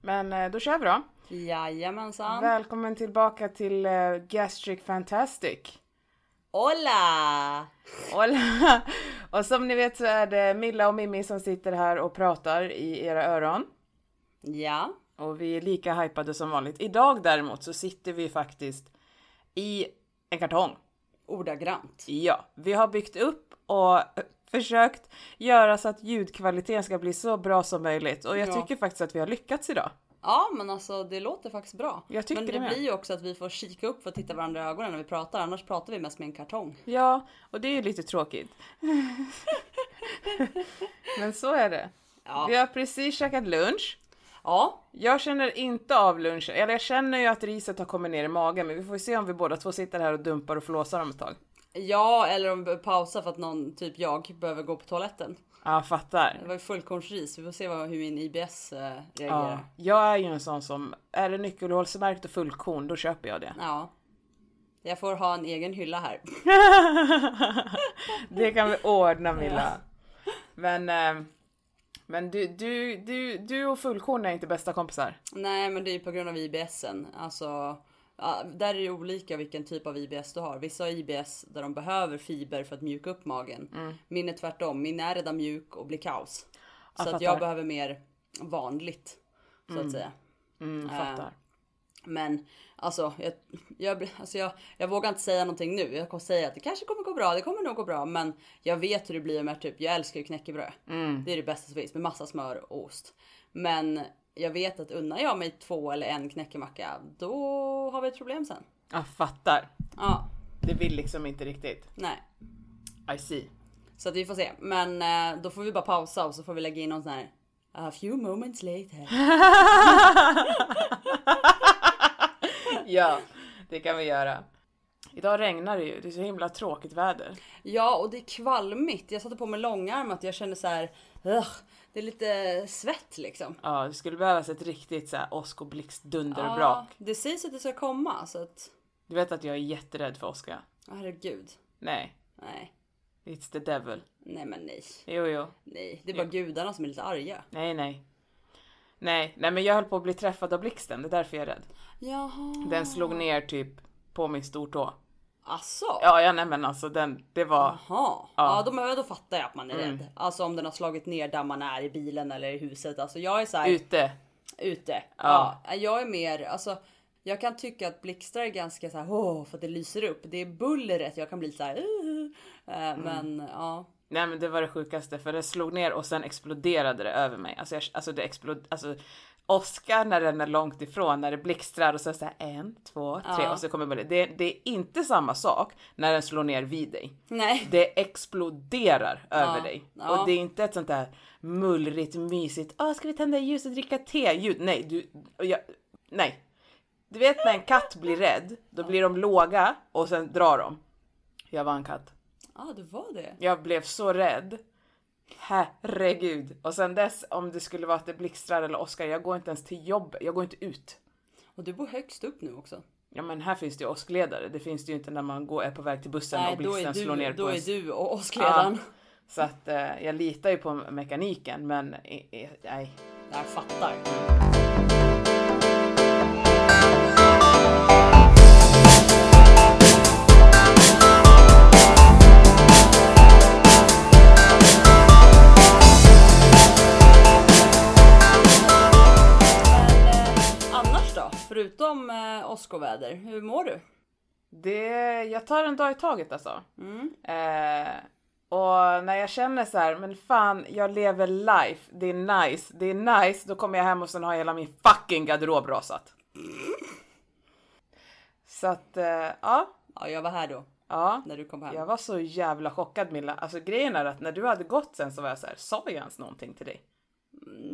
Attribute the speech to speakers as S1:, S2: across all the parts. S1: Men eh, då kör vi då.
S2: Jajamensan.
S1: Välkommen tillbaka till eh, Gastric Fantastic.
S2: Hola!
S1: Hola! Och som ni vet så är det Milla och Mimmi som sitter här och pratar i era öron.
S2: Ja,
S1: Och vi är lika hypade som vanligt. Idag däremot så sitter vi faktiskt i en kartong.
S2: ordagrant.
S1: Ja, vi har byggt upp och eh, försökt göra så att ljudkvaliteten ska bli så bra som möjligt. Och jag
S2: Ja.
S1: tycker faktiskt att vi har lyckats idag.
S2: Ja, men alltså det låter faktiskt bra.
S1: Jag tycker
S2: men det,
S1: det med.
S2: blir ju också att vi får kika upp för att titta varandra i ögonen när vi pratar, annars pratar vi mest med en kartong.
S1: Ja, och det är ju lite tråkigt. Men så är det.
S2: Ja.
S1: Vi har precis käkat lunch.
S2: Ja,
S1: Jag känner inte av lunchen, eller jag känner ju att riset har kommit ner i magen men vi får ju se om vi båda två sitter här och dumpar och flåsar om ett tag.
S2: ja eller om vi pausar för att någon, typ jag, behöver gå på toaletten.
S1: Ja, fattar.
S2: Det var ju fullkornsris, vi får se vad, hur min IBS eh,
S1: Ja,
S2: reagerar.
S1: jag är ju en sån som, är det nyckelhålsmärkt och fullkorn då köper jag det.
S2: Ja. Jag får ha en egen hylla här.
S1: Det kan vi ordna Milla. Men, eh, men du, du, du, du och fullkorn är inte bästa kompisar.
S2: Nej, men det är ju på grund av IBSen. Alltså, ja, där är det olika vilken typ av IBS du har. Vissa har IBS där de behöver fiber för att mjuka upp magen.
S1: Mm.
S2: Min är tvärtom. Min är redan mjuk och blir kaos.
S1: Jag
S2: så att
S1: fattar.
S2: jag behöver mer vanligt, så att säga.
S1: Mm, fattar.
S2: Men alltså, jag, jag, blir- alltså jag, jag vågar inte säga någonting nu. Jag kommer säga att det kanske kommer gå bra, det kommer nog gå bra. Men jag vet hur det blir med typ, jag älskar ju knäckebröd. Det är det bästa som finns med massa smör och ost. Men jag vet att unnar jag mig två eller en knäckemacka, då har vi ett problem sen.
S1: Jag fattar.
S2: Ja,
S1: Det vill liksom inte riktigt.
S2: nej.
S1: I see.
S2: Så att vi får se. Men eh, då får vi bara pausa och så får vi lägga in någon sån här A few moments later.
S1: Ja, det kan vi göra. Idag regnar det ju, det är så himla tråkigt väder.
S2: Ja, och det är kvalmigt. Jag satte på mig långärmat och jag kände så här, "Ugh." det är lite svett liksom.
S1: Ja, det skulle behövas ett riktigt så här åsk och blixt, dunder och
S2: Ja,
S1: brak.
S2: Det sägs att det ska komma så att,
S1: Du vet att jag är jätterädd för åska?
S2: herregud.
S1: Nej,
S2: Nej,
S1: it's the devil.
S2: nej men nej.
S1: Jo, jo.
S2: Nej, det är bara gudarna som är lite arga.
S1: Nej, nej. Nej, nej men jag höll på att bli träffad av blixten, det är därför jag är rädd.
S2: Jaha.
S1: Den slog ner typ på min stortå.
S2: Asså?
S1: Ja, ja nej men alltså den, det var...
S2: Jaha. Ja, då, men då fattar jag att man är rädd. Alltså om den har slagit ner där man är i bilen eller i huset. Alltså jag är så här
S1: Ute.
S2: ute.
S1: Ja.
S2: Ja. jag är mer alltså. Jag kan tycka att blixtar är ganska så här åh, för att det lyser upp. Det är bullret jag kan bli så här. "Uh." Eh, Men ja,
S1: Nej men det var det sjukaste för det slog ner och sen exploderade det över mig. Alltså, jag, alltså det exploderade, alltså Oscar när den är långt ifrån, när det blixtrar och så är det så här en, två, tre
S2: Ja.
S1: och så kommer bullet. det. Det är inte samma sak när den slår ner vid dig.
S2: nej.
S1: Det exploderar över dig.
S2: Ja.
S1: Och det är inte ett sånt där mullrigt, mysigt, åh ska vi tända ljus och dricka te ljud. Nej, du, och jag, nej. Du vet när en katt blir rädd, då blir de låga och sen drar de. Jag var en katt.
S2: Ja, det var det.
S1: Jag blev så rädd. Herregud. Och sen dess, om det skulle vara att det blixtrar eller åskar, jag går inte ens till jobb. Jag går inte ut.
S2: Och du bor högst upp nu också.
S1: Ja men här finns det ju åskledare. Det finns det ju inte när man går, är på väg till bussen
S2: Nej,
S1: och
S2: då är
S1: blixten slår
S2: du,
S1: ner
S2: då
S1: på en.
S2: är du och åskledaren.
S1: Så att eh, jag litar ju på mekaniken men i- i- nej.
S2: Jag fattar. Men, eh, annars då? Förutom eh, åskoväder, hur mår du?
S1: Det, jag tar en dag i taget alltså. Eh, och när jag känner så här, men fan jag lever life, det är nice, det är nice, då kommer jag hem och sen har hela min fucking garderob rasat. Så att, eh, ja,
S2: Ja, jag var här då
S1: ja.
S2: när du kom hem.
S1: Jag var så jävla chockad Milla. Alltså grejen är att när du hade gått sen så var jag så här, sa jag ens någonting till dig?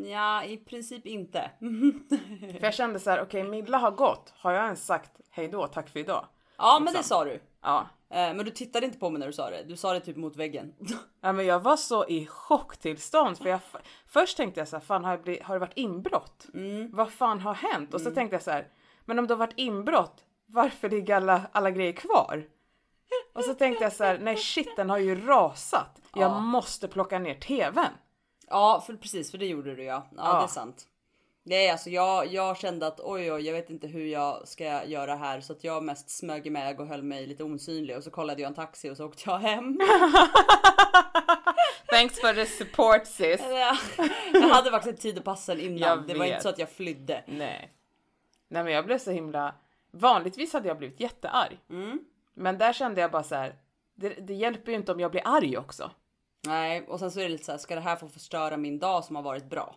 S2: Ja, i princip inte.
S1: För jag kände så här, okej Milla har gått, har jag ens sagt hej då, tack för idag?
S2: Ja, men det sa du.
S1: Ja,
S2: Eh, Men du tittade inte på mig när du sa det. Du sa det typ mot väggen.
S1: Ja, men jag var så i chocktillstånd för jag f- först tänkte jag så här, fan har, jag blivit, har det varit inbrott? Vad fan har hänt? Och så tänkte jag så här, men om det har varit inbrott, varför ligger alla, alla grejer kvar? Och så tänkte jag så här, nej shit den har ju rasat. Jag måste plocka ner tvn.
S2: Ja, för precis, för det gjorde du ja. Ja, det är sant. Nej alltså jag, jag kände att oj oj jag vet inte hur jag ska göra här så att jag mest smög iväg och höll mig lite osynlig och så kollade jag en taxi och så åkte jag hem.
S1: Thanks for the support sis.
S2: jag hade faktiskt tid att passa den innan.
S1: Jag
S2: Det var inte
S1: vet.
S2: så att jag flydde.
S1: Nej. Nej men jag blev så himla... Vanligtvis hade jag blivit jättearg. Men där kände jag bara så här. Det, det hjälper ju inte om jag blir arg också.
S2: Nej och sen så är det lite så här ska det här få förstöra min dag som har varit bra?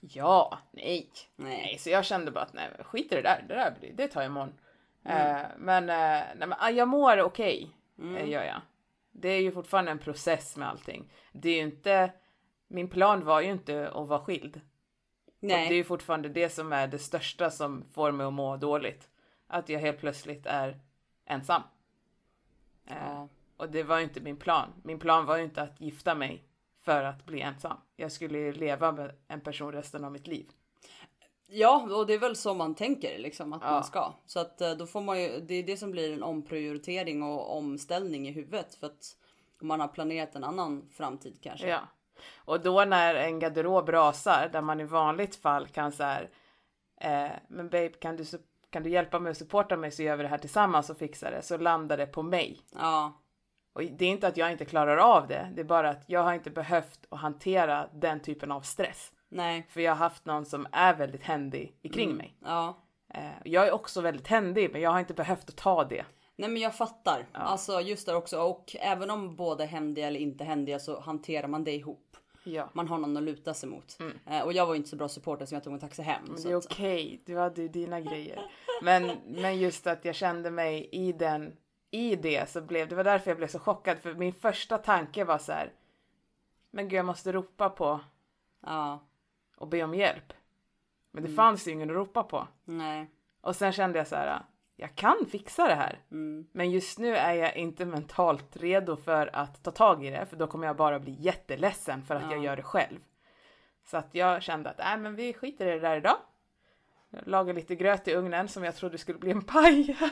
S1: Ja, nej.
S2: Nej.
S1: nej. Så jag kände bara att nej, men skit i det där, det där blir, det tar jag imorgon.
S2: Mm.
S1: Eh, men, eh, nej, men ah, jag mår okej, eh, gör jag. Det är ju fortfarande en process med allting. Det är ju inte, min plan var ju inte att vara skild. Och det är
S2: Nej.
S1: ju fortfarande det som är det största som får mig att må dåligt. Att jag helt plötsligt är ensam. Eh, och det var ju inte min plan. Min plan var ju inte att gifta mig för att bli ensam. Jag skulle ju leva med en person resten av mitt liv.
S2: Ja och det är väl så man tänker liksom att
S1: Ja.
S2: man ska. Så att eh, då får man ju, det är det som blir en omprioritering och omställning i huvudet för att man har planerat en annan framtid kanske.
S1: Ja. Och då när en garderob rasar, där man i vanligt fall kan så här, eh, men babe kan du, sup- kan du hjälpa mig och supporta mig så gör vi det här tillsammans och fixar det, så landar det på mig.
S2: ja.
S1: Och det är inte att jag inte klarar av det, det är bara att jag har inte behövt att hantera den typen av stress.
S2: Nej.
S1: För jag har haft någon som är väldigt händig i kring mig.
S2: Ja.
S1: Eh, jag är också väldigt händig, men jag har inte behövt att ta det.
S2: Nej men jag fattar. Alltså just där också. Och även om båda är händiga eller inte händiga så hanterar man det ihop.
S1: Ja.
S2: Man har någon att luta sig mot. Eh, och jag var ju inte så bra supporter som jag tog en taxi hem.
S1: Mm. Men
S2: så
S1: det är
S2: att-
S1: okej, du hade ju dina grejer. Men, men just att jag kände mig i den, i det så blev, det var därför jag blev så chockad. För min första tanke var så här, men gud jag måste ropa på
S2: Ja.
S1: och be om hjälp. Men
S2: Mm.
S1: det fanns ju ingen att ropa på.
S2: Nej.
S1: Och sen kände jag så här, jag kan fixa det här. Men just nu är jag inte mentalt redo för att ta tag i det, för då kommer jag bara bli jätteledsen för att jag gör det själv. Så att jag kände att, nej men vi skiter i det där idag. Jag lagar lite gröt i ugnen som jag trodde skulle bli en paj.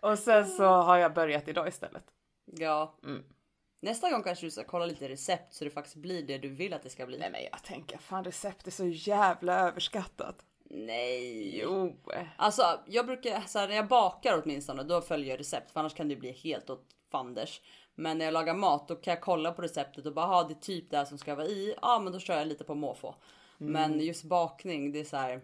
S1: Och sen så har jag börjat idag istället.
S2: Ja.
S1: Mm.
S2: Nästa gång kanske du ska kolla lite recept så det faktiskt blir det du vill att det ska bli.
S1: Nej men jag tänker, fan recept är så jävla överskattat.
S2: Nej.
S1: Jo.
S2: Alltså jag brukar, så här, när jag bakar åtminstone då följer jag recept för annars kan det bli helt åt fanders. Men när jag lagar mat då kan jag kolla på receptet och bara ha det är typ det här som ska vara i. Ja men då kör jag lite på måfå. Men just bakning det är så här.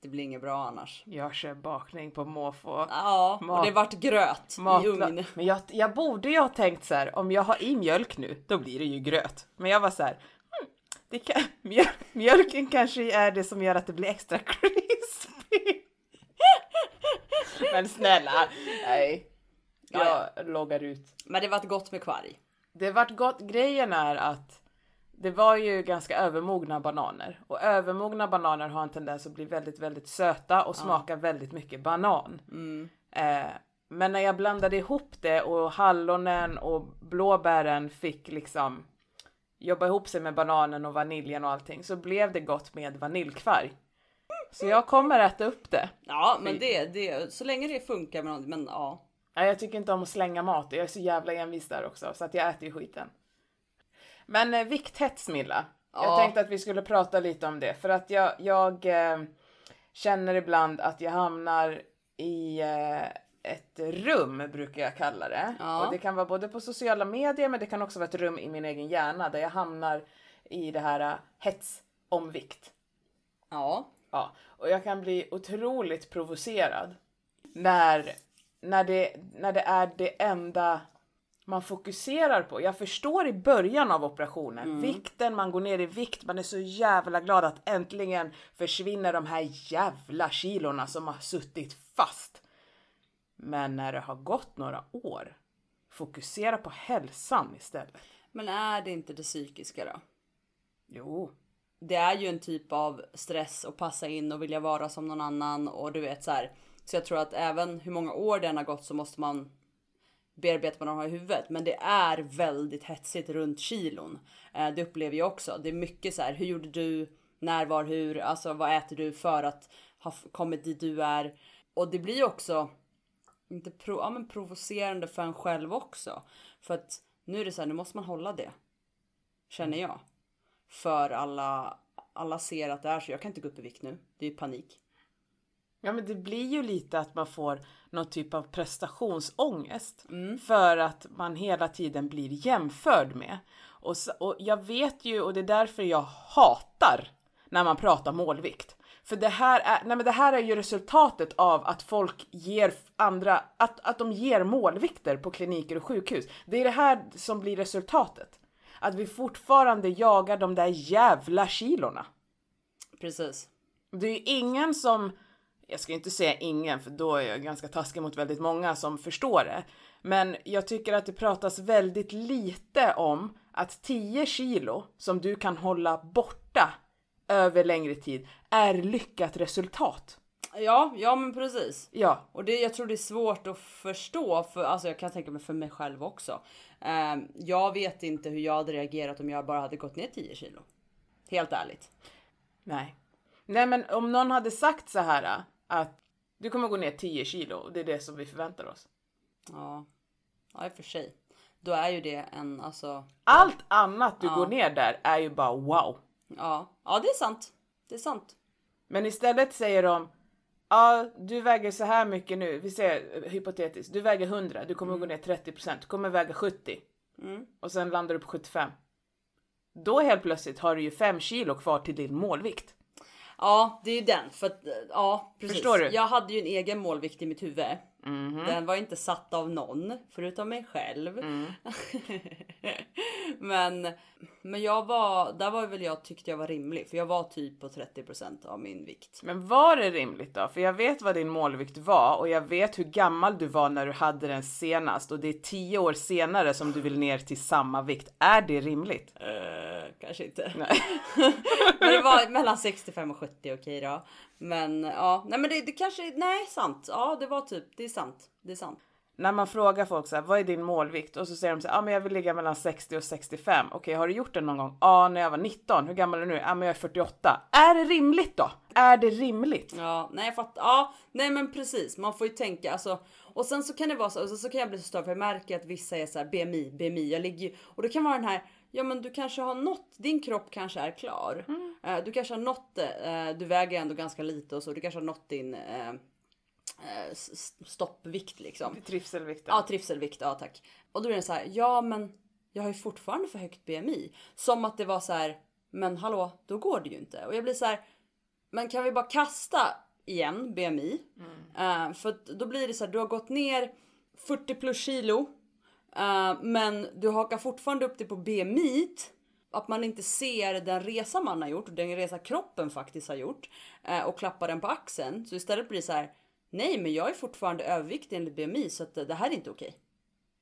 S2: Det blir inget bra annars.
S1: Jag kör bakning på måfå.
S2: Ja och
S1: Mat-
S2: det vart gröt i
S1: Matla-
S2: ugn.
S1: Men jag, jag borde ju ha tänkt så här, om jag har i mjölk nu, då blir det ju gröt. Men jag var så här, hmm, det kan, mjöl- mjölken kanske är det som gör att det blir extra crispy. Men snälla, nej. Jag
S2: Ja,
S1: loggar ut.
S2: Men det vart gott med kvarg.
S1: Det vart gott. Grejen är att det var ju ganska övermogna bananer och övermogna bananer har en tendens att bli väldigt, väldigt söta och smaka väldigt mycket banan. Eh, men när jag blandade ihop det och hallonen och blåbären fick liksom jobba ihop sig med bananen och vaniljen och allting så blev det gott med vaniljkvarg. Så jag kommer äta upp det.
S2: Ja men det, det, så länge det funkar med någonting. Men ja.
S1: Nej, jag tycker inte om att slänga mat. Jag är så jävla envis där också, så att jag äter ju skiten. Men eh, vikthets, Milla. Jag
S2: Ja.
S1: tänkte att vi skulle prata lite om det, för att jag, jag eh, känner ibland att jag hamnar i eh, ett rum, brukar jag kalla det.
S2: Ja.
S1: Och det kan vara både på sociala medier, men det kan också vara ett rum i min egen hjärna där jag hamnar i det här eh, hets om vikt.
S2: Ja.
S1: Ja, och jag kan bli otroligt provocerad när, när, det, när det är det enda man fokuserar på. Jag förstår i början av operationen, vikten, man går ner i vikt, man är så jävla glad att äntligen försvinner de här jävla kilorna som har suttit fast. Men när det har gått några år, fokusera på hälsan istället.
S2: Men är det inte det psykiska då?
S1: Jo,
S2: det är ju en typ av stress att passa in och vilja vara som någon annan och du vet så här. Så jag tror att även hur många år den har gått så måste man bearbeta vad man har i huvudet. Men det är väldigt hetsigt runt kilon. Eh, Det upplever jag också. Det är mycket så här, hur gjorde du? När, var, hur? Alltså vad äter du för att ha f- kommit dit du är? Och det blir ju också inte pro- ja, men provocerande för en själv också. För att nu är det så här, nu måste man hålla det. Känner jag. För alla, alla ser att det är så. Jag kan inte gå upp i vikt nu. Det är ju panik.
S1: Ja men det blir ju lite att man får någon typ av prestationsångest för att man hela tiden blir jämförd med. Och, så, och jag vet ju och det är därför jag hatar när man pratar målvikt. För det här är, nej men det här är ju resultatet av att folk ger andra, att, att de ger målvikter på kliniker och sjukhus. Det är det här som blir resultatet. Att vi fortfarande jagar de där jävla kilorna.
S2: Precis.
S1: Det är ju ingen som, jag ska inte säga ingen för då är jag ganska taskig mot väldigt många som förstår det. Men jag tycker att det pratas väldigt lite om att 10 kilo som du kan hålla borta över längre tid är lyckat resultat.
S2: Ja, ja men precis.
S1: Ja,
S2: Och det, jag tror det är svårt att förstå, för, alltså jag kan tänka mig för mig själv också. Ehm, jag vet inte hur jag hade reagerat om jag bara hade gått ner 10 kilo. Helt ärligt.
S1: nej. Nej men om någon hade sagt så här att du kommer gå ner 10 kilo och det är det som vi förväntar oss.
S2: Ja, ja i och för sig. Då är ju det en, alltså,
S1: Allt annat du går ner där är ju bara wow.
S2: ja, ja det är sant. Det är sant.
S1: Men istället säger de Ja, du väger så här mycket nu. Vi säger eh, hypotetiskt. Du väger 100, du kommer gå ner 30%, du kommer väga 70. Och sen landar du på 75. Då helt plötsligt har du ju 5 kilo kvar till din målvikt.
S2: Ja, det är ju den. För att, eh, ja, precis.
S1: Förstår du? Mhm.
S2: Jag hade ju en egen målvikt i mitt huvud. Den var inte satt av någon förutom mig själv.
S1: Mm.
S2: men, men jag var, där var väl jag tyckte jag var rimlig för jag var typ på 30% av min vikt.
S1: Men var det rimligt då? För jag vet vad din målvikt var och jag vet hur gammal du var när du hade den senast och det är 10 år senare som du vill ner till samma vikt. Är det rimligt?
S2: Eh, kanske inte. men det var mellan 65 och 70 okej då. Men ja, nej men det, det kanske, nej sant. Ja det var typ, det är sant. Det är sant.
S1: När man frågar folk så här, vad är din målvikt? Och så säger de så här, ah, men jag vill ligga mellan 60 och 65. Okej, har du gjort det någon gång? Ja, ah, när jag var 19. Hur gammal är du nu? Ja, ah, men jag är 48. Är det rimligt då? Är det rimligt?
S2: Ja, nej jag fattar. Ja, nej men precis. Man får ju tänka alltså. Och sen så kan det vara så, och sen så kan jag bli så störd för jag märker att vissa är så här BMI, BMI. Jag ligger ju, och det kan vara den här, ja men du kanske har nått, din kropp kanske är klar. Eh, Du kanske har nått, eh, du väger ändå ganska lite och så, du kanske har nått din eh, eh, s- s- stoppvikt liksom.
S1: Trivselvikten.
S2: Ja, trivselvikt. Ja, tack. Och då är det så här, ja men jag har ju fortfarande för högt BMI. Som att det var så här, men hallå, då går det ju inte. Och jag blir så här, men kan vi bara kasta igen BMI?
S1: Mm.
S2: Eh, för att då blir det så här, du har gått ner 40 plus kilo. eh, men du hakar fortfarande upp dig på BMI. -t. Att man inte ser den resa man har gjort och den resa kroppen faktiskt har gjort. eh, och klappar den på axeln. Så istället blir det så här, Nej, men jag är fortfarande överviktig enligt BMI så att eh, det här är inte okej.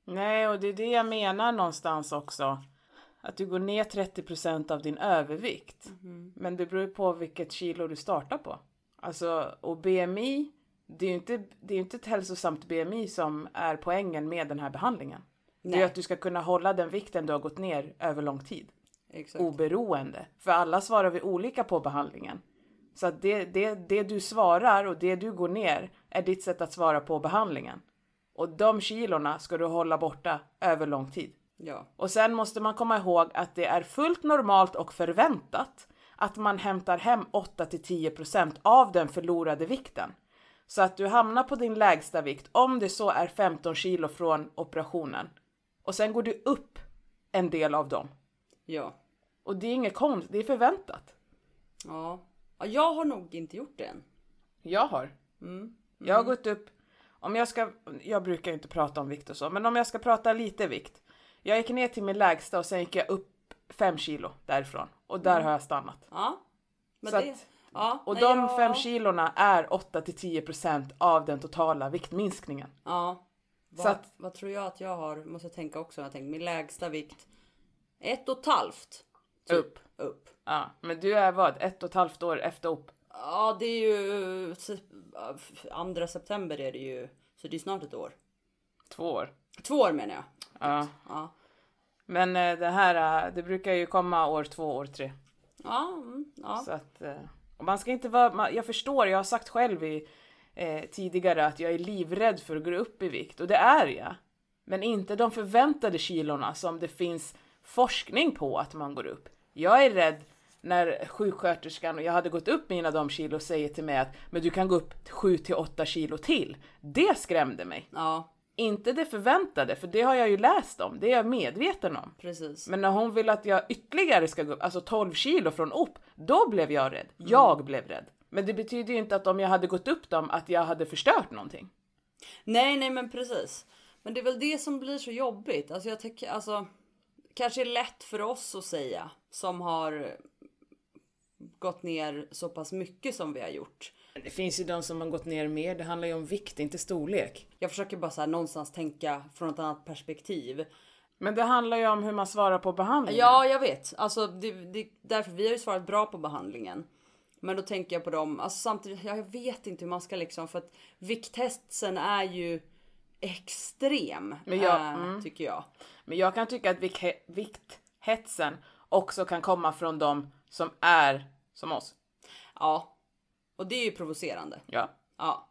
S1: Nej, och det är det jag menar någonstans också. Att du går ner 30% av din övervikt. Men det beror ju på vilket kilo du startar på. Alltså, och BMI, det är ju inte, det är ju inte ett hälsosamt BMI som är poängen med den här behandlingen. Det är ju
S2: Nej.
S1: att du ska kunna hålla den vikten du har gått ner över lång tid.
S2: Exakt.
S1: Oberoende. För alla svarar vi olika på behandlingen. Så att det, det, det du svarar och det du går ner är ditt sätt att svara på behandlingen. Och de kilorna ska du hålla borta över lång tid.
S2: Ja,
S1: Och sen måste man komma ihåg att det är fullt normalt och förväntat att man hämtar hem 8-10% av den förlorade vikten. Så att du hamnar på din lägsta vikt, om det så är 15 kilo från operationen. Och sen går du upp en del av dem.
S2: ja,
S1: Och det är inget konstigt, det är förväntat.
S2: ja. ja. Jag har nog inte gjort det än.
S1: Jag har. Jag har gått upp, om jag ska, jag brukar ju inte prata om vikt och så, men om jag ska prata lite vikt. Jag gick ner till min lägsta och sen gick jag upp 5 kilo därifrån och där har jag stannat.
S2: Ja, men
S1: Så
S2: det.
S1: att-
S2: ja,
S1: Och
S2: nej,
S1: de
S2: jag-
S1: 5 kilorna är 8-10% av den totala viktminskningen.
S2: Ja. Vad,
S1: Så att-
S2: vad tror jag att jag har? Måste jag tänka också. Jag tänker min lägsta vikt. Ett och ett halvt. Typ.
S1: Upp.
S2: Upp.
S1: Ja, men du är vad? Ett och ett halvt år efter upp?
S2: Ja, det är ju typ, äh, f- andra september är det ju. Så det är snart ett år.
S1: Två år?
S2: Två år menar jag.
S1: Ja.
S2: Ja,
S1: Men eh, det här, eh, det brukar ju komma år två, år tre.
S2: ja, mm, ja.
S1: Så att, eh, och man ska inte vara, man, jag förstår, jag har sagt själv i, eh, tidigare att jag är livrädd för att gå upp i vikt och det är jag. Men inte de förväntade kilorna som det finns forskning på att man går upp. Jag är rädd när sjuksköterskan och jag hade gått upp mina damkilo och säger till mig att men du kan gå upp 7 till 8 kilo till. Det skrämde mig.
S2: Ja,
S1: Inte det förväntade, för det har jag ju läst om, det är jag medveten om.
S2: precis.
S1: Men när hon vill att jag ytterligare ska gå upp, alltså 12 kilo från upp, då blev jag rädd. Jag blev rädd. Men det betyder ju inte att om jag hade gått upp dem att jag hade förstört någonting.
S2: Nej, nej, men precis. Men det är väl det som blir så jobbigt. Alltså, jag tycker alltså. Kanske är lätt för oss att säga som har gått ner så pass mycket som vi har gjort.
S1: Det finns ju de som har gått ner mer, det handlar ju om vikt, inte storlek.
S2: Jag försöker bara så här någonstans tänka från ett annat perspektiv.
S1: Men det handlar ju om hur man svarar på behandlingen.
S2: Ja, jag vet. Alltså, det, det, därför vi har ju svarat bra på behandlingen. Men då tänker jag på dem. Alltså, samtidigt, jag vet inte hur man ska liksom. För att vikthetsen är ju extrem.
S1: Men jag- mm.
S2: eh, Tycker jag.
S1: Men jag kan tycka att vik- vikthetsen också kan komma från de som är som oss.
S2: Ja. Och det är ju provocerande.
S1: Ja.
S2: Ja.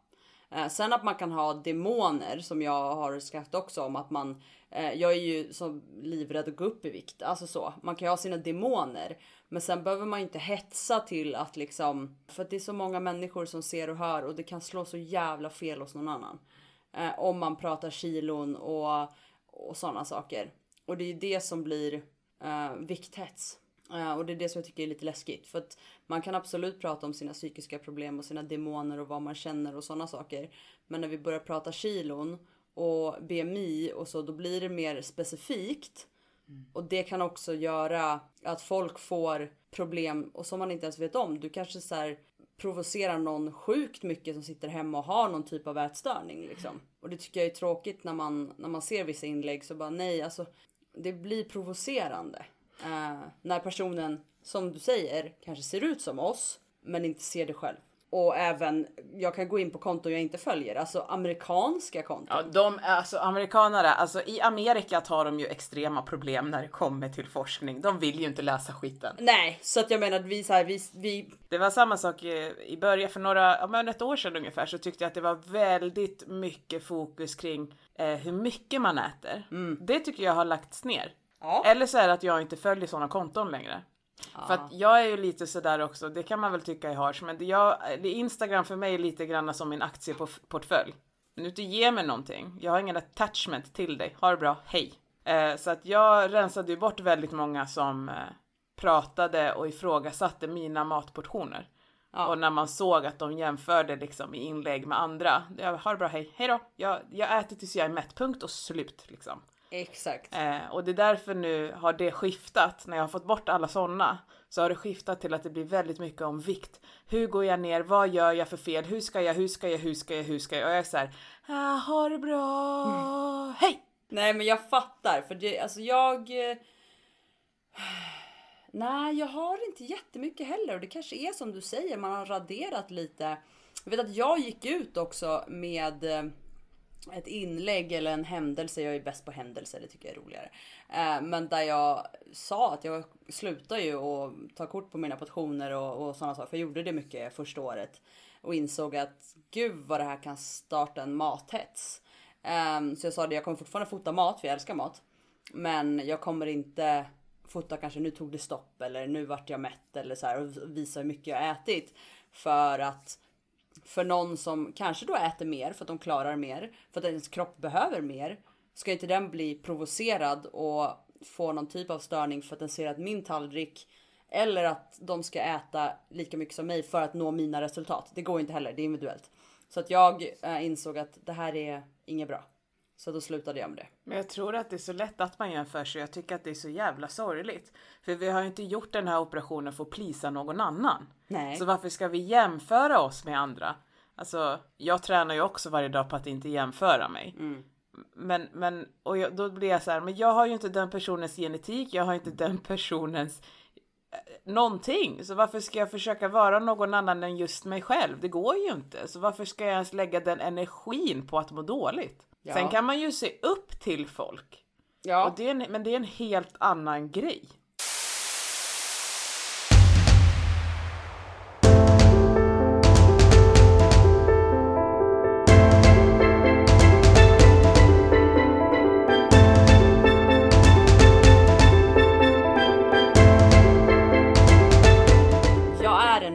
S2: Eh, Sen att man kan ha demoner som jag har skrivit också om att man. eh, Jag är ju så livrädd att gå upp i vikt. Alltså så. Man kan ju ha sina demoner. Men sen behöver man ju inte hetsa till att liksom. För att det är så många människor som ser och hör och det kan slå så jävla fel hos någon annan. Eh, Om man pratar kilon och, och sådana saker. Och det är ju det som blir eh, vikthets. Eh, och det är det som jag tycker är lite läskigt. För att man kan absolut prata om sina psykiska problem och sina demoner och vad man känner och sådana saker. Men när vi börjar prata kilon och BMI och så, då blir det mer specifikt. Och det kan också göra att folk får problem och som man inte ens vet om. Du kanske så här provocerar någon sjukt mycket som sitter hemma och har någon typ av ätstörning liksom. Och det tycker jag är tråkigt när man, när man ser vissa inlägg så bara nej alltså. Det blir provocerande. eh, när personen, som du säger, kanske ser ut som oss men inte ser det själv. Och även, jag kan gå in på konton jag inte följer, alltså amerikanska konton.
S1: ja de är alltså amerikanare, alltså i Amerika tar de ju extrema problem när det kommer till forskning. De vill ju inte läsa skiten.
S2: Nej, så att jag menar att vi så här, vi, vi
S1: Det var samma sak eh, i början, för några, ja, men ett år sedan ungefär, så tyckte jag att det var väldigt mycket fokus kring eh, hur mycket man äter. Det tycker jag har lagts ner.
S2: Ja.
S1: Eller så är det att jag inte följer sådana konton längre. För att jag är ju lite sådär också, det kan man väl tycka är harsh, men det jag, det Instagram för mig är lite grann som min aktieportfölj. Nu inte ge mig någonting, jag har ingen attachment till dig, ha det bra, hej. Eh, så att jag rensade ju bort väldigt många som eh, pratade och ifrågasatte mina matportioner. Och när man såg att de jämförde liksom i inlägg med andra, jag har det bra, hej, hej då, jag, jag äter tills jag är mätt, punkt och slut liksom.
S2: Exakt.
S1: Eh, och det är därför nu har det skiftat, när jag har fått bort alla sådana, så har det skiftat till att det blir väldigt mycket om vikt. Hur går jag ner? Vad gör jag för fel? Hur ska jag? Hur ska jag? Hur ska jag? Hur ska jag? Och jag är såhär, ah, ha det bra, hej!
S2: Nej men jag fattar för det, alltså jag... eh, Nej jag har inte jättemycket heller och det kanske är som du säger, man har raderat lite. Jag vet att jag gick ut också med eh, ett inlägg eller en händelse, jag är bäst på händelser, det tycker jag är roligare. Eh, Men där jag sa att jag slutar ju att ta kort på mina portioner och, och sådana saker, för jag gjorde det mycket första året. Och insåg att gud vad det här kan starta en mathets. Ehm, så jag sa det, jag kommer fortfarande fota mat för jag älskar mat. Men jag kommer inte fota kanske nu tog det stopp eller nu vart jag mätt eller så här och visa hur mycket jag ätit. För att för någon som kanske då äter mer för att de klarar mer, för att ens kropp behöver mer. Ska inte den bli provocerad och få någon typ av störning för att den ser att min tallrik eller att de ska äta lika mycket som mig för att nå mina resultat. Det går inte heller, det är individuellt. Så att jag eh, insåg att det här är inget bra. Så då slutade jag med det.
S1: Men jag tror att det är så lätt att man jämför sig. Jag tycker att det är så jävla sorgligt. För vi har ju inte gjort den här operationen för att plisa någon annan.
S2: Nej.
S1: Så varför ska vi jämföra oss med andra? Alltså, jag tränar ju också varje dag på att inte jämföra mig.
S2: Mm.
S1: Men, men, och jag, då blir jag så här, men jag har ju inte den personens genetik, jag har inte den personens eh, någonting. Så varför ska jag försöka vara någon annan än just mig själv? Det går ju inte. Så varför ska jag ens lägga den energin på att må dåligt?
S2: Ja.
S1: Sen kan man ju se upp till folk.
S2: Ja.
S1: Och det är en, men det är en helt annan grej.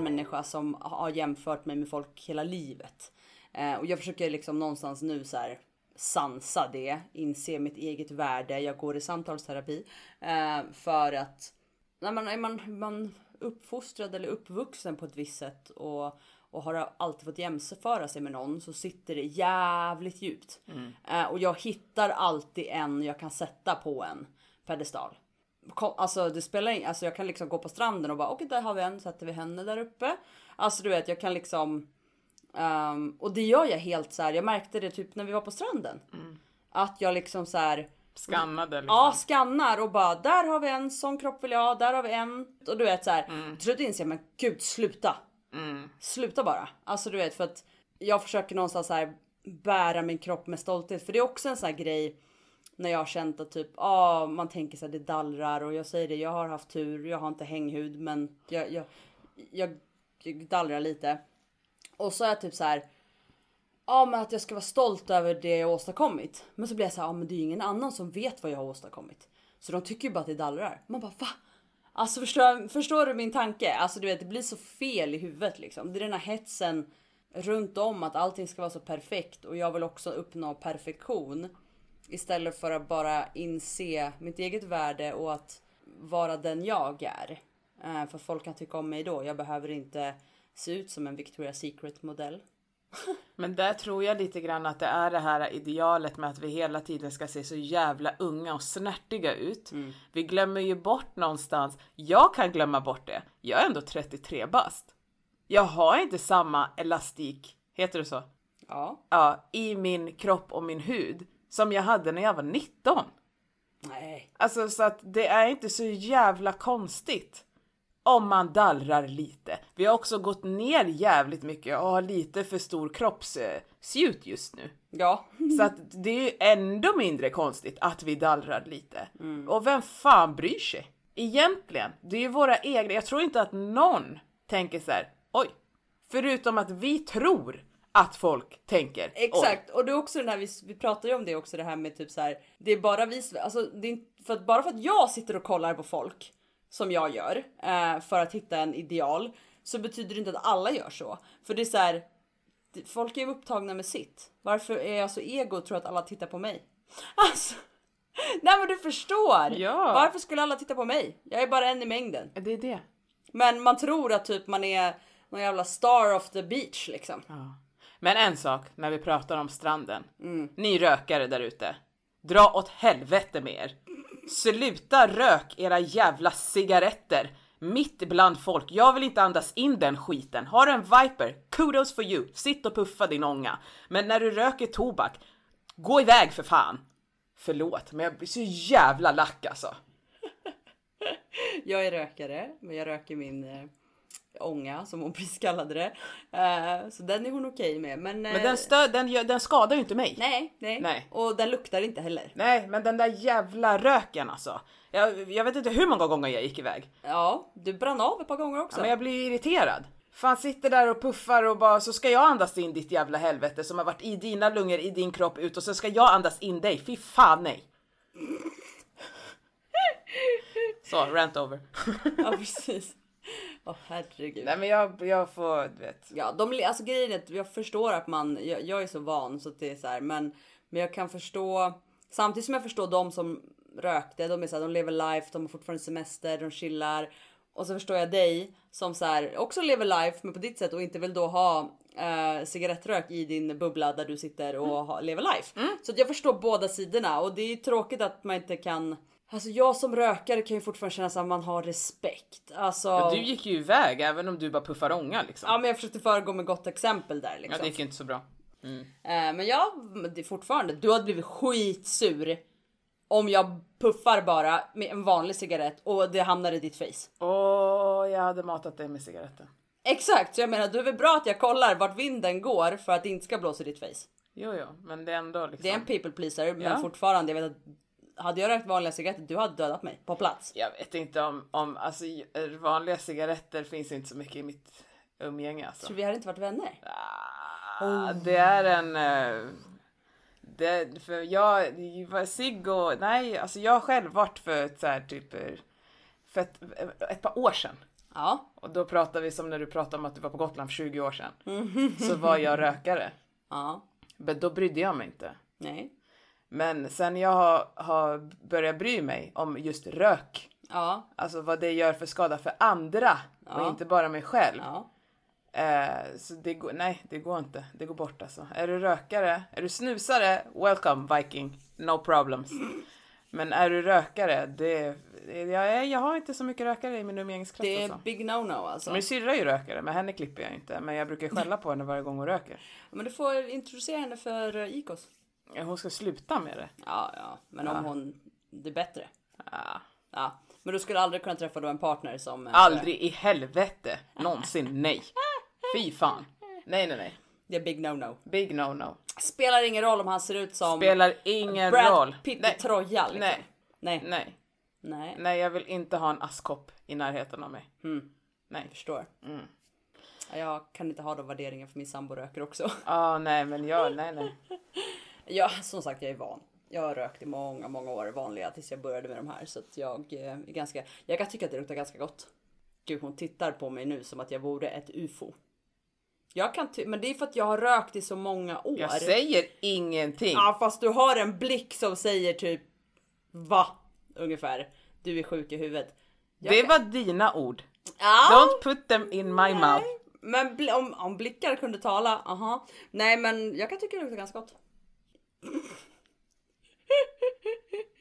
S2: människa som har jämfört mig med folk hela livet. Eh, och jag försöker liksom någonstans nu så här sansa det, inse mitt eget värde. Jag går i samtalsterapi eh, för att nej, man, är man, man uppfostrad eller uppvuxen på ett visst sätt och, och har alltid fått jämföra sig med någon så sitter det jävligt djupt. Eh, och jag hittar alltid en jag kan sätta på en pedestal. Kom, alltså det spelar ingen, alltså jag kan liksom gå på stranden och bara okej där har vi en, sätter vi henne där uppe. Alltså du vet jag kan liksom ehm, och det gör jag helt så här. Jag märkte det typ när vi var på stranden. Att jag liksom så här.
S1: Skannade liksom.
S2: Ja, skannar och bara där har vi en sån kropp vill jag ha, där har vi en. Och du vet så här. Till slut inser jag men gud sluta. Sluta bara. Alltså du vet för att jag försöker någonstans så här bära min kropp med stolthet. För det är också en sån här grej när jag har känt att typ ah, man tänker så här det dallrar och jag säger det jag har haft tur, jag har inte hänghud men jag, jag, jag, jag dallrar lite. Och så är jag typ så här ja men att jag ska vara stolt över det jag har åstadkommit. Men så blir jag så här, ja men det är ju ingen annan som vet vad jag har åstadkommit. Så de tycker ju bara att det dallrar. Man bara va? Alltså förstår, förstår du min tanke? Alltså du vet det blir så fel i huvudet liksom. Det är den här hetsen runt om att allting ska vara så perfekt och jag vill också uppnå perfektion. Istället för att bara inse mitt eget värde och att vara den jag är. Eh, För att folk kan tycka om mig då. Jag behöver inte se ut som en Victoria's Secret modell.
S1: Men där tror jag lite grann att det är det här idealet med att vi hela tiden ska se så jävla unga och snärtiga ut. Vi glömmer ju bort någonstans. Jag kan glömma bort det. Jag är ändå 33 bast. Jag har inte samma elastik, heter det så?
S2: Ja,
S1: Ja, i min kropp och min hud som jag hade när jag var 19.
S2: nej.
S1: Alltså så att det är inte så jävla konstigt om man dallrar lite. Vi har också gått ner jävligt mycket och har lite för stor kroppsgjut just nu.
S2: Ja,
S1: Så att det är ju ändå mindre konstigt att vi dallrar lite. Och vem fan bryr sig? Egentligen, det är ju våra egna. Jag tror inte att någon tänker så här, oj. Förutom att vi tror att folk tänker, "Oj."
S2: exakt. Och det är också den här, vi, vi pratar ju om det också det här med typ så här. Det är bara vi, alltså det är, inte- för att, bara för att jag sitter och kollar på folk som jag gör eh, för att hitta en ideal så betyder det inte att alla gör så. För det är så här, det- folk är ju upptagna med sitt. Varför är jag så ego och tror att alla tittar på mig? Alltså, nej men du förstår!
S1: Ja.
S2: Varför skulle alla titta på mig? Jag är bara en i mängden.
S1: Det är det.
S2: Men man tror att typ man är någon jävla star of the beach liksom.
S1: Ja. Men en sak när vi pratar om stranden.
S2: Mm.
S1: Ni rökare där ute. Dra åt helvete med er. Sluta rök era jävla cigaretter mitt bland folk. Jag vill inte andas in den skiten. Har du en viper, kudos for you. Sitt och puffa din ånga. Men när du röker tobak, gå iväg för fan. Förlåt, men jag blir så jävla lack alltså.
S2: Jag är rökare, men jag röker min eh, ånga som hon precis kallade det. Eh, så den är hon okej med. Men, eh,
S1: Men den, stö- den, gör- den skadar ju inte mig.
S2: nej, nej,
S1: Nej.
S2: Och den luktar inte heller.
S1: Nej, men den där jävla röken alltså. Jag, jag vet inte hur många gånger jag gick iväg.
S2: Ja, du brann av ett par gånger också.
S1: Ja, men jag blir ju irriterad. Fan sitter där och puffar och bara så ska jag andas in ditt jävla helvete som har varit i dina lungor, i din kropp ut och så ska jag andas in dig. Fy fan nej. Så, rant over.
S2: Ja, precis. Åh herregud.
S1: nej men jag, jag får, du vet.
S2: Ja, de, alltså grejen är att jag förstår att man, jag, jag är så van så att det är så här, men, men jag kan förstå, samtidigt som jag förstår de som rökte, de är så här, de lever life, de har fortfarande semester, de chillar. Och så förstår jag dig som så här, också lever life men på ditt sätt och inte vill då ha eh, cigarettrök i din bubbla där du sitter och
S1: Mm.
S2: ha, lever life. Så att jag förstår båda sidorna och det är tråkigt att man inte kan Alltså jag som rökare kan ju fortfarande känna så att man har respekt. Alltså,
S1: Du gick ju iväg även om du bara puffar ånga liksom.
S2: ja men jag försökte föregå med gott exempel där liksom.
S1: Ja, det gick ju inte så bra.
S2: Eh, Men jag, men det är fortfarande, du hade blivit skitsur om jag puffar bara med en vanlig cigarett och det hamnar i ditt face.
S1: Åh, jag hade matat dig med cigaretten.
S2: Exakt, så jag menar du är väl bra att jag kollar vart vinden går för att det inte ska blåsa i ditt face.
S1: Jo, jo, men det är ändå liksom.
S2: Det är en people pleaser men
S1: Ja.
S2: fortfarande, jag vet att hade jag rökt vanliga cigaretter, du hade dödat mig på plats.
S1: Jag vet inte om, om alltså vanliga cigaretter finns inte så mycket i mitt umgänge alltså.
S2: Så vi hade inte varit vänner.
S1: Ah, Det är en... eh, Det, för jag, det var Sigg och, nej, alltså jag har själv varit för ett så här typ, eh, för ett, ett par år sedan.
S2: Ja.
S1: Och då pratar vi som när du pratade om att du var på Gotland för 20 år sedan. Så var jag rökare.
S2: Ja.
S1: Men då brydde jag mig inte.
S2: Nej.
S1: Men sen jag har, har börjat bry mig om just rök,
S2: Ja.
S1: alltså vad det gör för skada för andra och
S2: Ja.
S1: inte bara mig själv.
S2: Ja.
S1: Eh, så det går, nej, det går inte. Det går bort alltså. Är du rökare, är du snusare, welcome Viking, no problems. Men är du rökare, det, jag, är- jag har inte så mycket rökare i min umgängeskrets.
S2: Det är
S1: alltså.
S2: big no-no alltså.
S1: Min syrra är ju rökare, men henne klipper jag inte. Men jag brukar skälla på henne varje gång hon röker.
S2: Men du får introducera henne för eh, Ikos.
S1: Hon ska sluta med det.
S2: Ja, ja. Men om hon... Det är bättre.
S1: Ah.
S2: Ja. Men du skulle aldrig kunna träffa då en partner som... eh,
S1: Aldrig i helvete någonsin, nej. Fy fan. Nej, nej, nej.
S2: Det är big no-no.
S1: Big no no.
S2: Spelar ingen roll om han ser ut som
S1: Spelar ingen roll.
S2: Brad Pitt i
S1: Nej,
S2: troja liksom.
S1: nej,
S2: Nej.
S1: nej,
S2: Nej.
S1: nej, jag vill inte ha en askkopp i närheten av mig.
S2: Jag förstår.
S1: Mm.
S2: Ja, Jag kan inte ha de värderingarna för min sambo röker också.
S1: Ja, nej, men jag, nej, nej.
S2: Ja, som sagt, jag är van. Jag har rökt i många, många år vanliga tills jag började med de här så att jag eh, är ganska. Jag kan tycka att det luktar ganska gott. Gud, hon tittar på mig nu som att jag vore ett UFO. Jag kan ty- men det är för att jag har rökt i så många år.
S1: Jag säger ingenting.
S2: Ja, fast du har en blick som säger typ va ungefär. Du är sjuk i huvudet. Jag
S1: Det
S2: kan-
S1: var dina ord.
S2: Ja.
S1: Don't put them in my mouth.
S2: Men bli- om, om blickar kunde tala, aha. Nej men jag kan tycka det luktar ganska gott.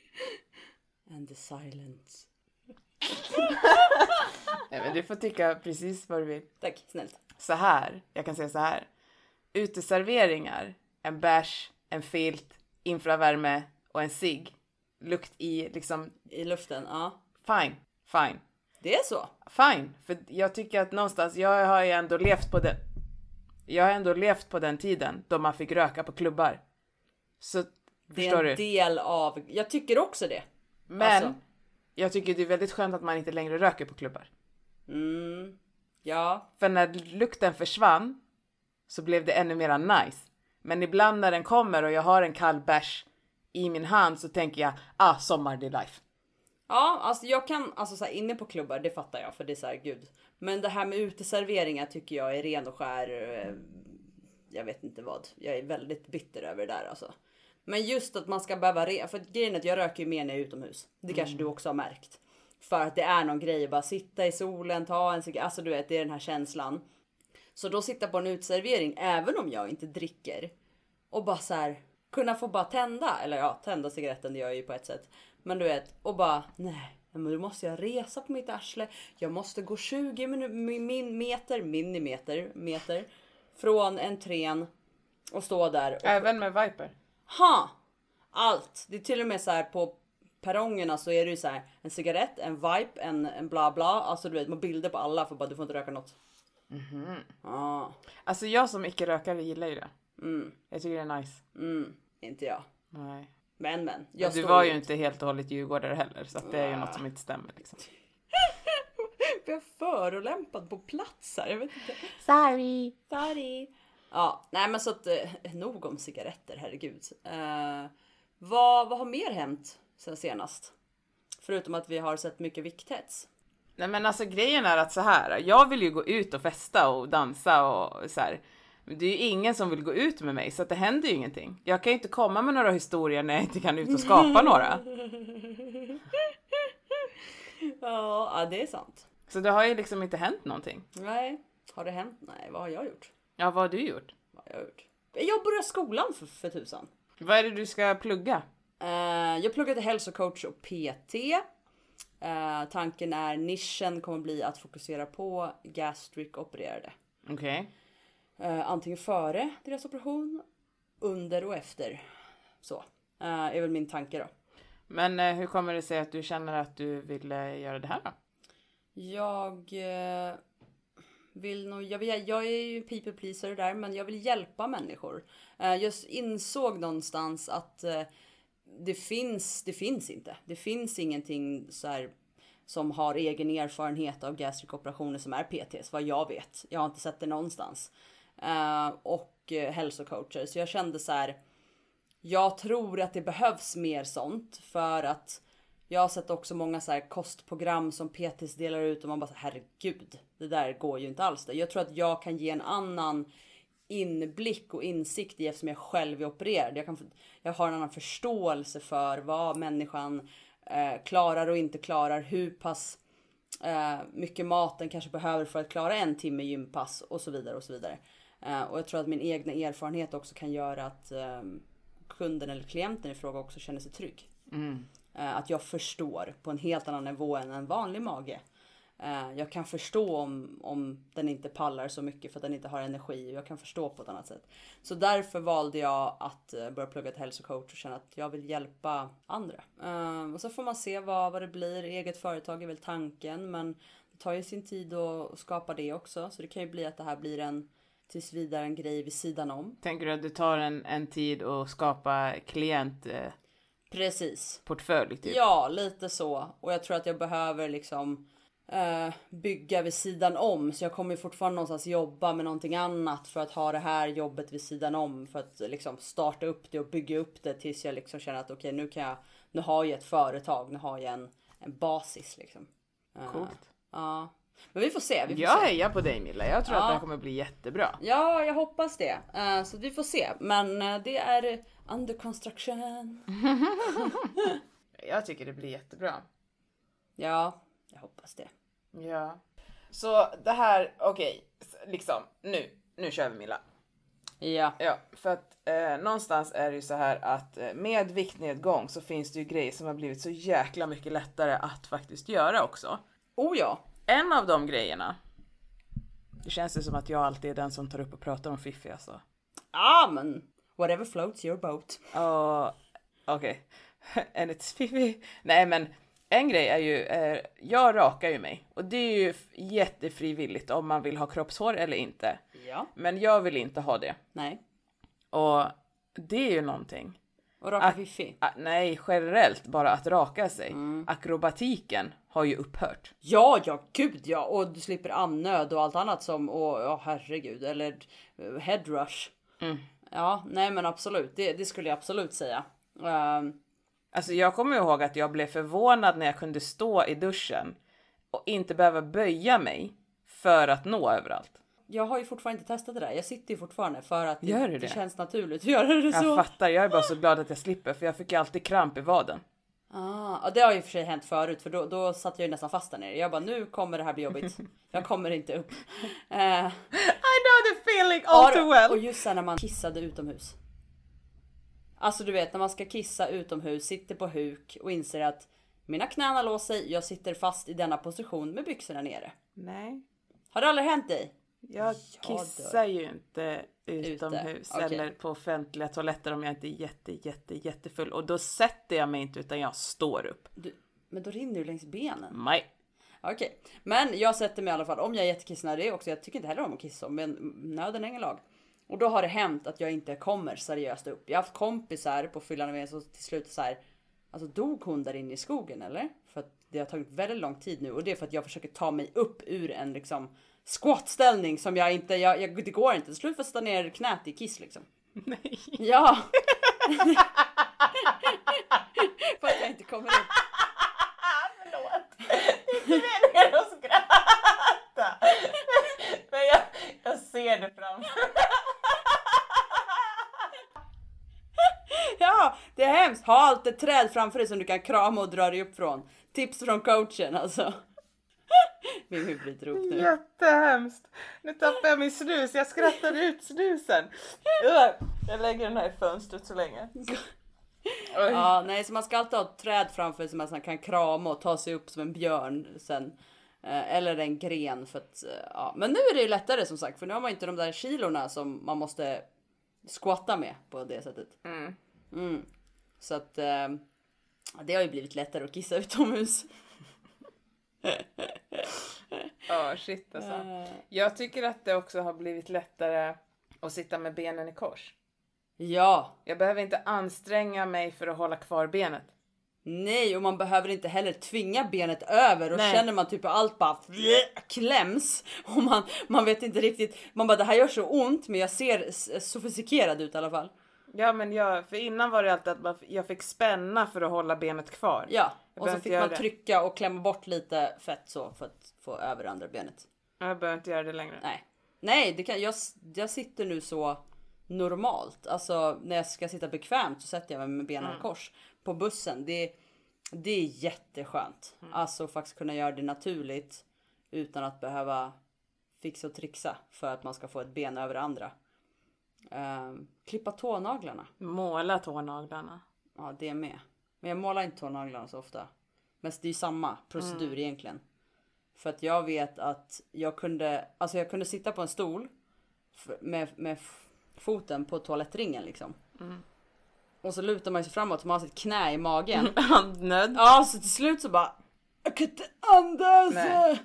S2: And the silence.
S1: Nej, men du får tycka precis vad du vill.
S2: Tack, snällt.
S1: Så här, jag kan säga så här. Uteserveringar, en bärs, en filt, infravärme och en cigg. Lukt i liksom
S2: I luften, ja.
S1: fine, fine,
S2: Det är så.
S1: fine. För jag tycker att någonstans, jag har ju ändå levt på den. Jag har ändå levt på den tiden då man fick röka på klubbar. Så
S2: Det
S1: förstår
S2: är
S1: du?
S2: en del av... Jag tycker också det.
S1: Men
S2: alltså.
S1: jag tycker det är väldigt skönt att man inte längre röker på klubbar.
S2: Mm. Ja,
S1: För när lukten försvann så blev det ännu mera nice. Men ibland när den kommer och jag har en kall bärs i min hand så tänker jag ah sommar det är life.
S2: Ja, alltså jag kan, alltså så här, inne på klubbar, det fattar jag för det är så här, gud. Men det här med uteserveringar tycker jag är ren och skär, eh, jag vet inte vad. Jag är väldigt bitter över det där alltså. Men just att man ska behöva, re- för att grejen är att jag röker ju mer när jag är utomhus. Det kanske du också har märkt. För att det är någon grej att bara sitta i solen, ta en cigarett, alltså du vet det är den här känslan. Så då sitta på en uteservering, även om jag inte dricker, och bara så här kunna få bara tända, eller ja tända cigaretten det gör jag ju på ett sätt. Men du vet och bara nej, men då måste jag resa på mitt arsle. Jag måste gå 20 minu- mi- min meter, minimeter, meter från entrén och stå där. Och,
S1: Även med Viper.
S2: ha! Allt! Det är till och med så här på perrongerna så är det ju så här en cigarett, en vipe, en, en bla bla. Alltså du vet, man har bilder på alla för bara du får inte röka något. Mhm. Ah,
S1: Alltså jag som icke-rökare gillar ju det. Jag tycker det är nice.
S2: mm, inte jag.
S1: Nej.
S2: Men men. Jag
S1: Men du
S2: står
S1: var ju inte helt och hållet djurgårdare heller så att det är ju något som inte stämmer liksom.
S2: typ, Jag är förolämpad på plats här. Jag vet inte.
S1: Sorry!
S2: Sorry. Ja, nej men så att eh, nog om cigaretter, herregud. Eh, vad, vad har mer hänt sen senast? Förutom att vi har sett mycket vikthets.
S1: Nej men alltså grejen är att så här, jag vill ju gå ut och festa och dansa och så här. Men det är ju ingen som vill gå ut med mig så att det händer ju ingenting. Jag kan ju inte komma med några historier när jag inte kan ut och skapa några.
S2: Ja, ja, det är sant.
S1: Så det har ju liksom inte hänt någonting.
S2: Nej, har det hänt? Nej, vad har jag gjort?
S1: Ja, vad har du gjort?
S2: Vad har jag gjort? Jag började skolan för, för tusan.
S1: Vad är det du ska plugga?
S2: Eh, jag pluggade hälsocoach och PT. Eh, tanken är nischen kommer bli att fokusera på gastric opererade.
S1: Okej.
S2: Eh, antingen före deras operation, under och efter. Så. Eh, är väl min tanke då.
S1: Men eh, hur kommer det sig att du känner att du vill eh, göra det här då?
S2: Jag eh, vill nog, jag, vill, jag är ju people pleaser där, men jag vill hjälpa människor. Eh, jag insåg någonstans att eh, det finns, det finns inte. Det finns ingenting så här som har egen erfarenhet av gastric operationer som är PTs, vad jag vet. Jag har inte sett det någonstans. Eh, och eh, hälsocoacher, så jag kände så här. Jag tror att det behövs mer sånt för att Jag har sett också många så här kostprogram som PTs delar ut och man bara så här, herregud, det där går ju inte alls. Där. Jag tror att jag kan ge en annan inblick och insikt i eftersom jag själv är opererad. Jag, kan, få- jag har en annan förståelse för vad människan eh, klarar och inte klarar. Hur pass eh, mycket mat den kanske behöver för att klara en timme gympass och så vidare och så vidare. Eh, och jag tror att min egna erfarenhet också kan göra att eh, kunden eller klienten i fråga också känner sig trygg. Eh, Att jag förstår på en helt annan nivå än en vanlig mage. Eh, Jag kan förstå om, om den inte pallar så mycket för att den inte har energi. Jag kan förstå på ett annat sätt. Så därför valde jag att eh, börja plugga till hälsocoach och känna att jag vill hjälpa andra. Eh, Och så får man se vad, vad det blir. Eget företag är väl tanken men det tar ju sin tid att att skapa det också. Så det kan ju bli att det här blir en tills vidare en grej vid sidan om.
S1: Tänker du att du tar en, en tid och skapar klientportfölj? Eh,
S2: Precis.
S1: portfölj, typ?
S2: Ja, lite så. Och jag tror att jag behöver liksom eh, bygga vid sidan om. Så jag kommer ju fortfarande någonstans jobba med någonting annat för att ha det här jobbet vid sidan om. För att liksom starta upp det och bygga upp det tills jag liksom känner att okej nu kan jag, nu har jag ett företag, nu har jag en, en basis liksom. Eh,
S1: Coolt.
S2: Ja. Men vi får se. Vi får
S1: Jag
S2: se.
S1: hejar på dig Milla, jag tror
S2: Ja.
S1: att det här kommer bli jättebra.
S2: Ja, jag hoppas det. Eh, så vi får se. Men eh, det är under construction.
S1: Jag tycker det blir jättebra.
S2: Ja, jag hoppas det.
S1: Ja. Så det här, okej, s- liksom nu, nu kör vi Milla.
S2: Ja.
S1: Ja, för att eh, någonstans är det ju så här att eh, med viktnedgång så finns det ju grejer som har blivit så jäkla mycket lättare att faktiskt göra också.
S2: Oh ja.
S1: En av de grejerna. Det känns ju som att jag alltid är den som tar upp och pratar om Fifi alltså.
S2: Ja men whatever floats your boat.
S1: Ja, okej. And it's Fifi. Nej men en grej är ju, eh, jag rakar ju mig och det är ju f- jättefrivilligt om man vill ha kroppshår eller inte.
S2: Ja.
S1: Men jag vill inte ha det.
S2: Nej.
S1: Och det är ju någonting.
S2: Och raka fiffi.
S1: Ah, nej, generellt bara att raka sig. Akrobatiken har ju upphört.
S2: Ja, ja, gud ja. Och du slipper annöd och allt annat som, och ja herregud, eller eh, headrush.
S1: Mm.
S2: Ja, nej men absolut, det, det skulle jag absolut säga. Ehm,
S1: Alltså jag kommer ihåg att jag blev förvånad när jag kunde stå i duschen och inte behöva böja mig för att nå överallt.
S2: jag har ju fortfarande inte testat det där. Jag sitter ju fortfarande för att
S1: Gör du
S2: det,
S1: det?
S2: känns naturligt att göra det
S1: Jag
S2: så.
S1: fattar, jag är bara så glad att jag slipper för jag fick ju alltid kramp i vaden.
S2: Ah, ja, det har ju i och för sig hänt förut för då, då satt jag ju nästan fast där nere. Jag bara nu kommer det här bli jobbigt. Jag kommer inte upp. Eh,
S1: I know the feeling
S2: Ja,
S1: all
S2: då.
S1: too
S2: Och
S1: well!
S2: just sen när man kissade utomhus. Alltså du vet när man ska kissa utomhus, sitter på huk och inser att mina knän har låst sig, jag sitter fast i denna position med byxorna nere.
S1: Nej,
S2: Har det aldrig hänt dig?
S1: jag
S2: dör.
S1: kissar ju inte utomhus
S2: okej.
S1: eller på offentliga toaletter om jag inte är jätte, jätte, jättefull och då sätter jag mig inte utan jag står upp.
S2: Du, men då rinner du längs benen.
S1: Nej.
S2: Okej, men jag sätter mig i alla fall om jag är jättekissnödig också. Jag tycker inte heller om att kissa men nöden är ingen lag. Och då har det hänt att jag inte kommer seriöst upp. Jag har haft kompisar på fyllan med som till slut så här. Alltså dog hon där inne i skogen eller? För att det har tagit väldigt lång tid nu och det är för att jag försöker ta mig upp ur en liksom squatställning som jag inte, jag, jag, det går inte. Till slut får jag sätta ner knät i kiss liksom.
S1: Nej.
S2: Ja! för att jag inte kommer upp.
S1: Förlåt. Inte meningen att skratta. Men jag, jag ser det framför mig.
S2: Ja, det är hemskt. Ha allt ett träd framför dig som du kan krama och dra dig upp från. Tips från coachen alltså. Min huvud bryter ihop nu.
S1: Jättehemskt. Nu tappade jag min snus. Jag skrattade ut snusen. Ugh. Jag lägger den här i fönstret så länge. Oj.
S2: Ja, nej, så man ska alltid ha ett träd framför sig som man sen kan krama och ta sig upp som en björn sen. Eh, Eller en gren för att, eh, ja. Men nu är det ju lättare som sagt för nu har man inte de där kilorna som man måste squatta med på det sättet.
S1: Mm.
S2: Mm. Så att eh, det har ju blivit lättare att kissa utomhus.
S1: Ja, shit alltså.
S2: Eh,
S1: Jag tycker att det också har blivit lättare att sitta med benen i kors.
S2: Ja,
S1: Jag behöver inte anstränga mig för att hålla kvar benet.
S2: Nej, och man behöver inte heller tvinga benet över och
S1: Nej.
S2: känner man typ hur allt bara kläms och man, man vet inte riktigt. Man bara det här gör så ont men jag ser s- sofistikerad ut i alla fall.
S1: Ja men jag, för innan var det alltid att man, jag fick spänna för att hålla benet kvar.
S2: Ja, och så
S1: behöver
S2: fick
S1: inte
S2: man
S1: göra det.
S2: trycka och klämma bort lite fett så för att få över andra benet.
S1: Jag behöver inte göra det längre.
S2: Nej, nej, det kan, jag, s- jag sitter nu så normalt. Alltså när jag ska sitta bekvämt så sätter jag mig med benen i kors på bussen. Det, det är jätteskönt. Alltså faktiskt kunna göra det naturligt utan att behöva fixa och trixa för att man ska få ett ben över det andra. Ehm, klippa tånaglarna.
S1: Måla tånaglarna.
S2: Ja, det är med. Men jag målar inte tånaglarna så ofta. Men det är ju samma procedur egentligen. För att jag vet att jag kunde, alltså jag kunde sitta på en stol f- med, med f- foten på toalettringen liksom. Och så lutar man sig framåt och man har sitt knä i magen.
S1: Handnöd.
S2: ja, så till slut så bara, jag kan inte andas!
S1: Nej.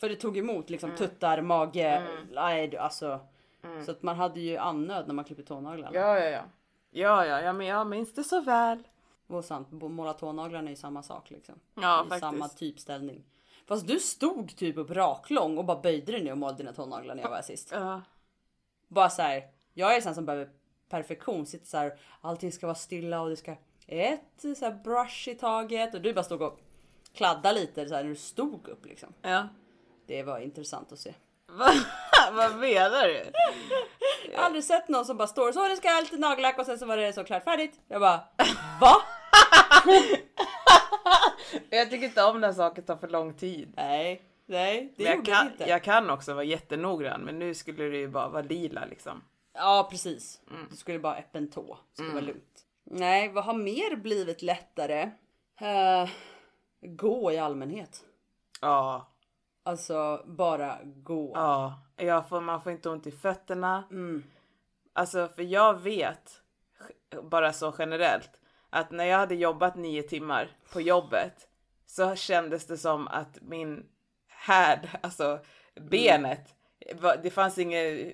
S2: För det tog emot liksom tuttar, mage, nej du, alltså. Så att man hade ju annöd när man klippte tånaglarna.
S1: Ja, ja, ja. Ja, ja, ja, men jag minns det så väl.
S2: Och sant, bo- måla tånaglarna är ju samma sak liksom.
S1: Ja,
S2: I
S1: faktiskt.
S2: samma typ ställning. Fast du stod typ upp raklång och bara böjde dig ner och målade dina tånaglar när jag var här sist.
S1: Ja.
S2: Bara så här. jag är sån som behöver perfektion. Sitter så här, allting ska vara stilla och det ska ett så här brush i taget. Och du bara stod och kladda lite så här när du stod upp liksom.
S1: ja.
S2: Det var intressant att se.
S1: Va, vad menar du?
S2: Jag har aldrig sett någon som bara står så, nu ska jag ha lite nagellack och sen så var det så klart färdigt. Jag bara, va?
S1: Jag tycker inte om när saker tar för lång tid.
S2: Nej, nej, det
S1: Men jag,
S2: gjorde
S1: kan,
S2: det inte.
S1: jag kan också vara jättenoggrann men nu skulle det ju bara vara lila liksom.
S2: Ja precis. Du skulle bara ha öppen tå. Det skulle vara lugnt. Nej, vad har mer blivit lättare? Eh, gå i allmänhet.
S1: Ja,
S2: Alltså bara gå.
S1: ja. Jag får, man får inte ont i fötterna.
S2: Mm.
S1: Alltså för jag vet, bara så generellt, att när jag hade jobbat nio timmar på jobbet så kändes det som att min härd, alltså
S2: Mm.
S1: benet, var- det fanns ingen eh,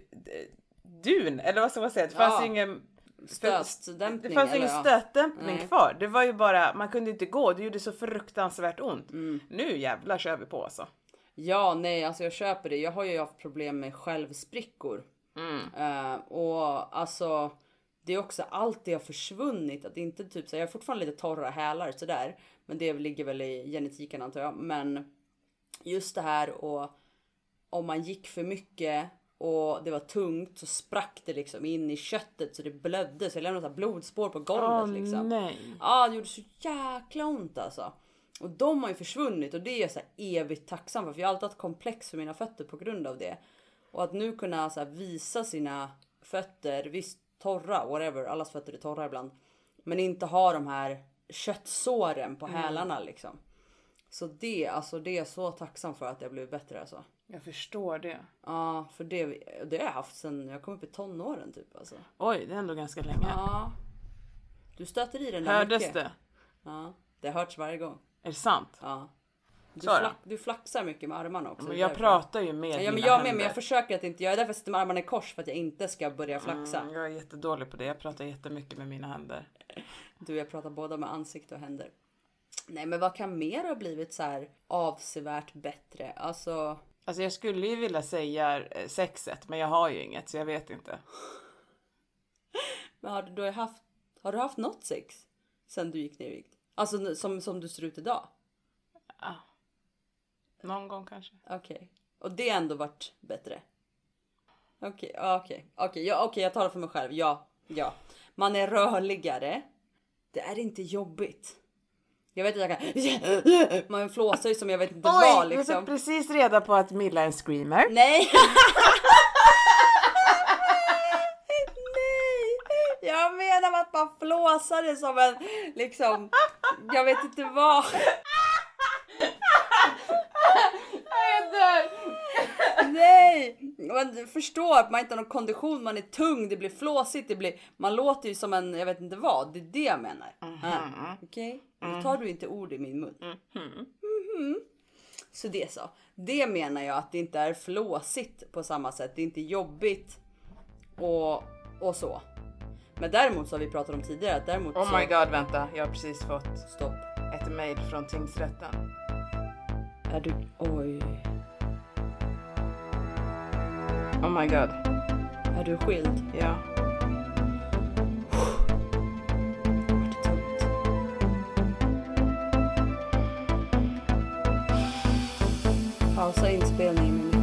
S1: dun, eller vad ska man säga, det fanns
S2: Ja.
S1: ingen
S2: Stötdämpning.
S1: Det fanns
S2: eller
S1: ingen
S2: ja.
S1: stötdämpning
S2: Nej.
S1: kvar. Det var ju bara, man kunde inte gå. Det gjorde så fruktansvärt ont.
S2: Mm.
S1: Nu jävlar kör vi på alltså.
S2: Ja, nej, alltså jag köper det. Jag har ju haft problem med självsprickor. Eh, och alltså, det är också allt det har försvunnit. Att det inte typ så här, jag har fortfarande lite torra hälar sådär. Men det ligger väl i genetiken antar jag. Men just det här och om man gick för mycket och det var tungt så sprack det liksom in i köttet så det blödde. Så jag lämnade så här blodspår på golvet
S1: Åh
S2: liksom.
S1: nej.
S2: Ja, det gjorde så jäkla ont alltså. Och de har ju försvunnit och det är jag så här evigt tacksam för. För jag har alltid haft komplex för mina fötter på grund av det. Och att nu kunna så här visa sina fötter, visst torra, whatever, allas fötter är torra ibland. Men inte ha de här köttsåren
S1: Mm.
S2: på hälarna liksom. Så det, alltså det är jag så tacksam för att jag blev bättre alltså.
S1: Jag förstår det.
S2: Ja, för det, det har jag haft sen jag kom upp i tonåren typ alltså.
S1: Oj, det är ändå ganska länge.
S2: Ja. Du stöter i den här
S1: Hördes
S2: mycket.
S1: det?
S2: Ja, det hörts varje gång.
S1: Är det sant?
S2: Ja. Du,
S1: Så är det.
S2: flack, du flaxar mycket med armarna också.
S1: Men
S2: det är
S1: jag
S2: därför.
S1: pratar ju med
S2: Ja, men
S1: mina
S2: jag med,
S1: händer.
S2: men jag försöker att inte göra det. Därför sitter jag med armarna i kors för att jag inte ska börja flaxa.
S1: Mm, Jag är jättedålig på det. Jag pratar jättemycket med mina händer.
S2: Du, jag pratar båda med ansikte och händer. Nej, men vad kan mer ha blivit så här avsevärt bättre? Alltså,
S1: Alltså jag skulle ju vilja säga eh, sexet, men jag har ju inget så jag vet inte.
S2: men har du, du har, ju haft, har du haft något sex sen du gick ner i vikt? Alltså nu- som, som du ser ut idag?
S1: Någon gång kanske.
S2: Okej. Och det har ändå varit bättre? Okej, ja, okej. Okej, ja, okej, jag talar för mig själv. Ja, ja. Man är rörligare. Det är inte jobbigt. Jag vet att jag kan... Man flåsar ju som jag vet inte vad
S1: jag
S2: liksom.
S1: fick precis reda på att Milla är en screamer.
S2: Nej! Nej! Jag menar att man flåsade som en liksom... Jag vet inte vad.
S1: Jag dör!
S2: Nej! Man förstår att man inte har någon kondition, man är tung, det blir flåsigt, det blir... Man låter ju som en, jag vet inte vad, det är det jag menar. Ja, Okej?
S1: Mm.
S2: Nu tar du inte ord i min mun.
S1: Mm-hmm.
S2: Mhm. Så det så. Det menar jag att det inte är flåsigt på samma sätt, det är inte jobbigt och, och så. Men däremot så har vi pratat om tidigare att däremot
S1: Oh
S2: så...
S1: my god, vänta. Jag har precis fått
S2: Stopp.
S1: ett mejl från tingsrätten.
S2: Är du... Oj.
S1: Oh my god.
S2: Är du skild?
S1: Ja.
S2: pausa inspelningen med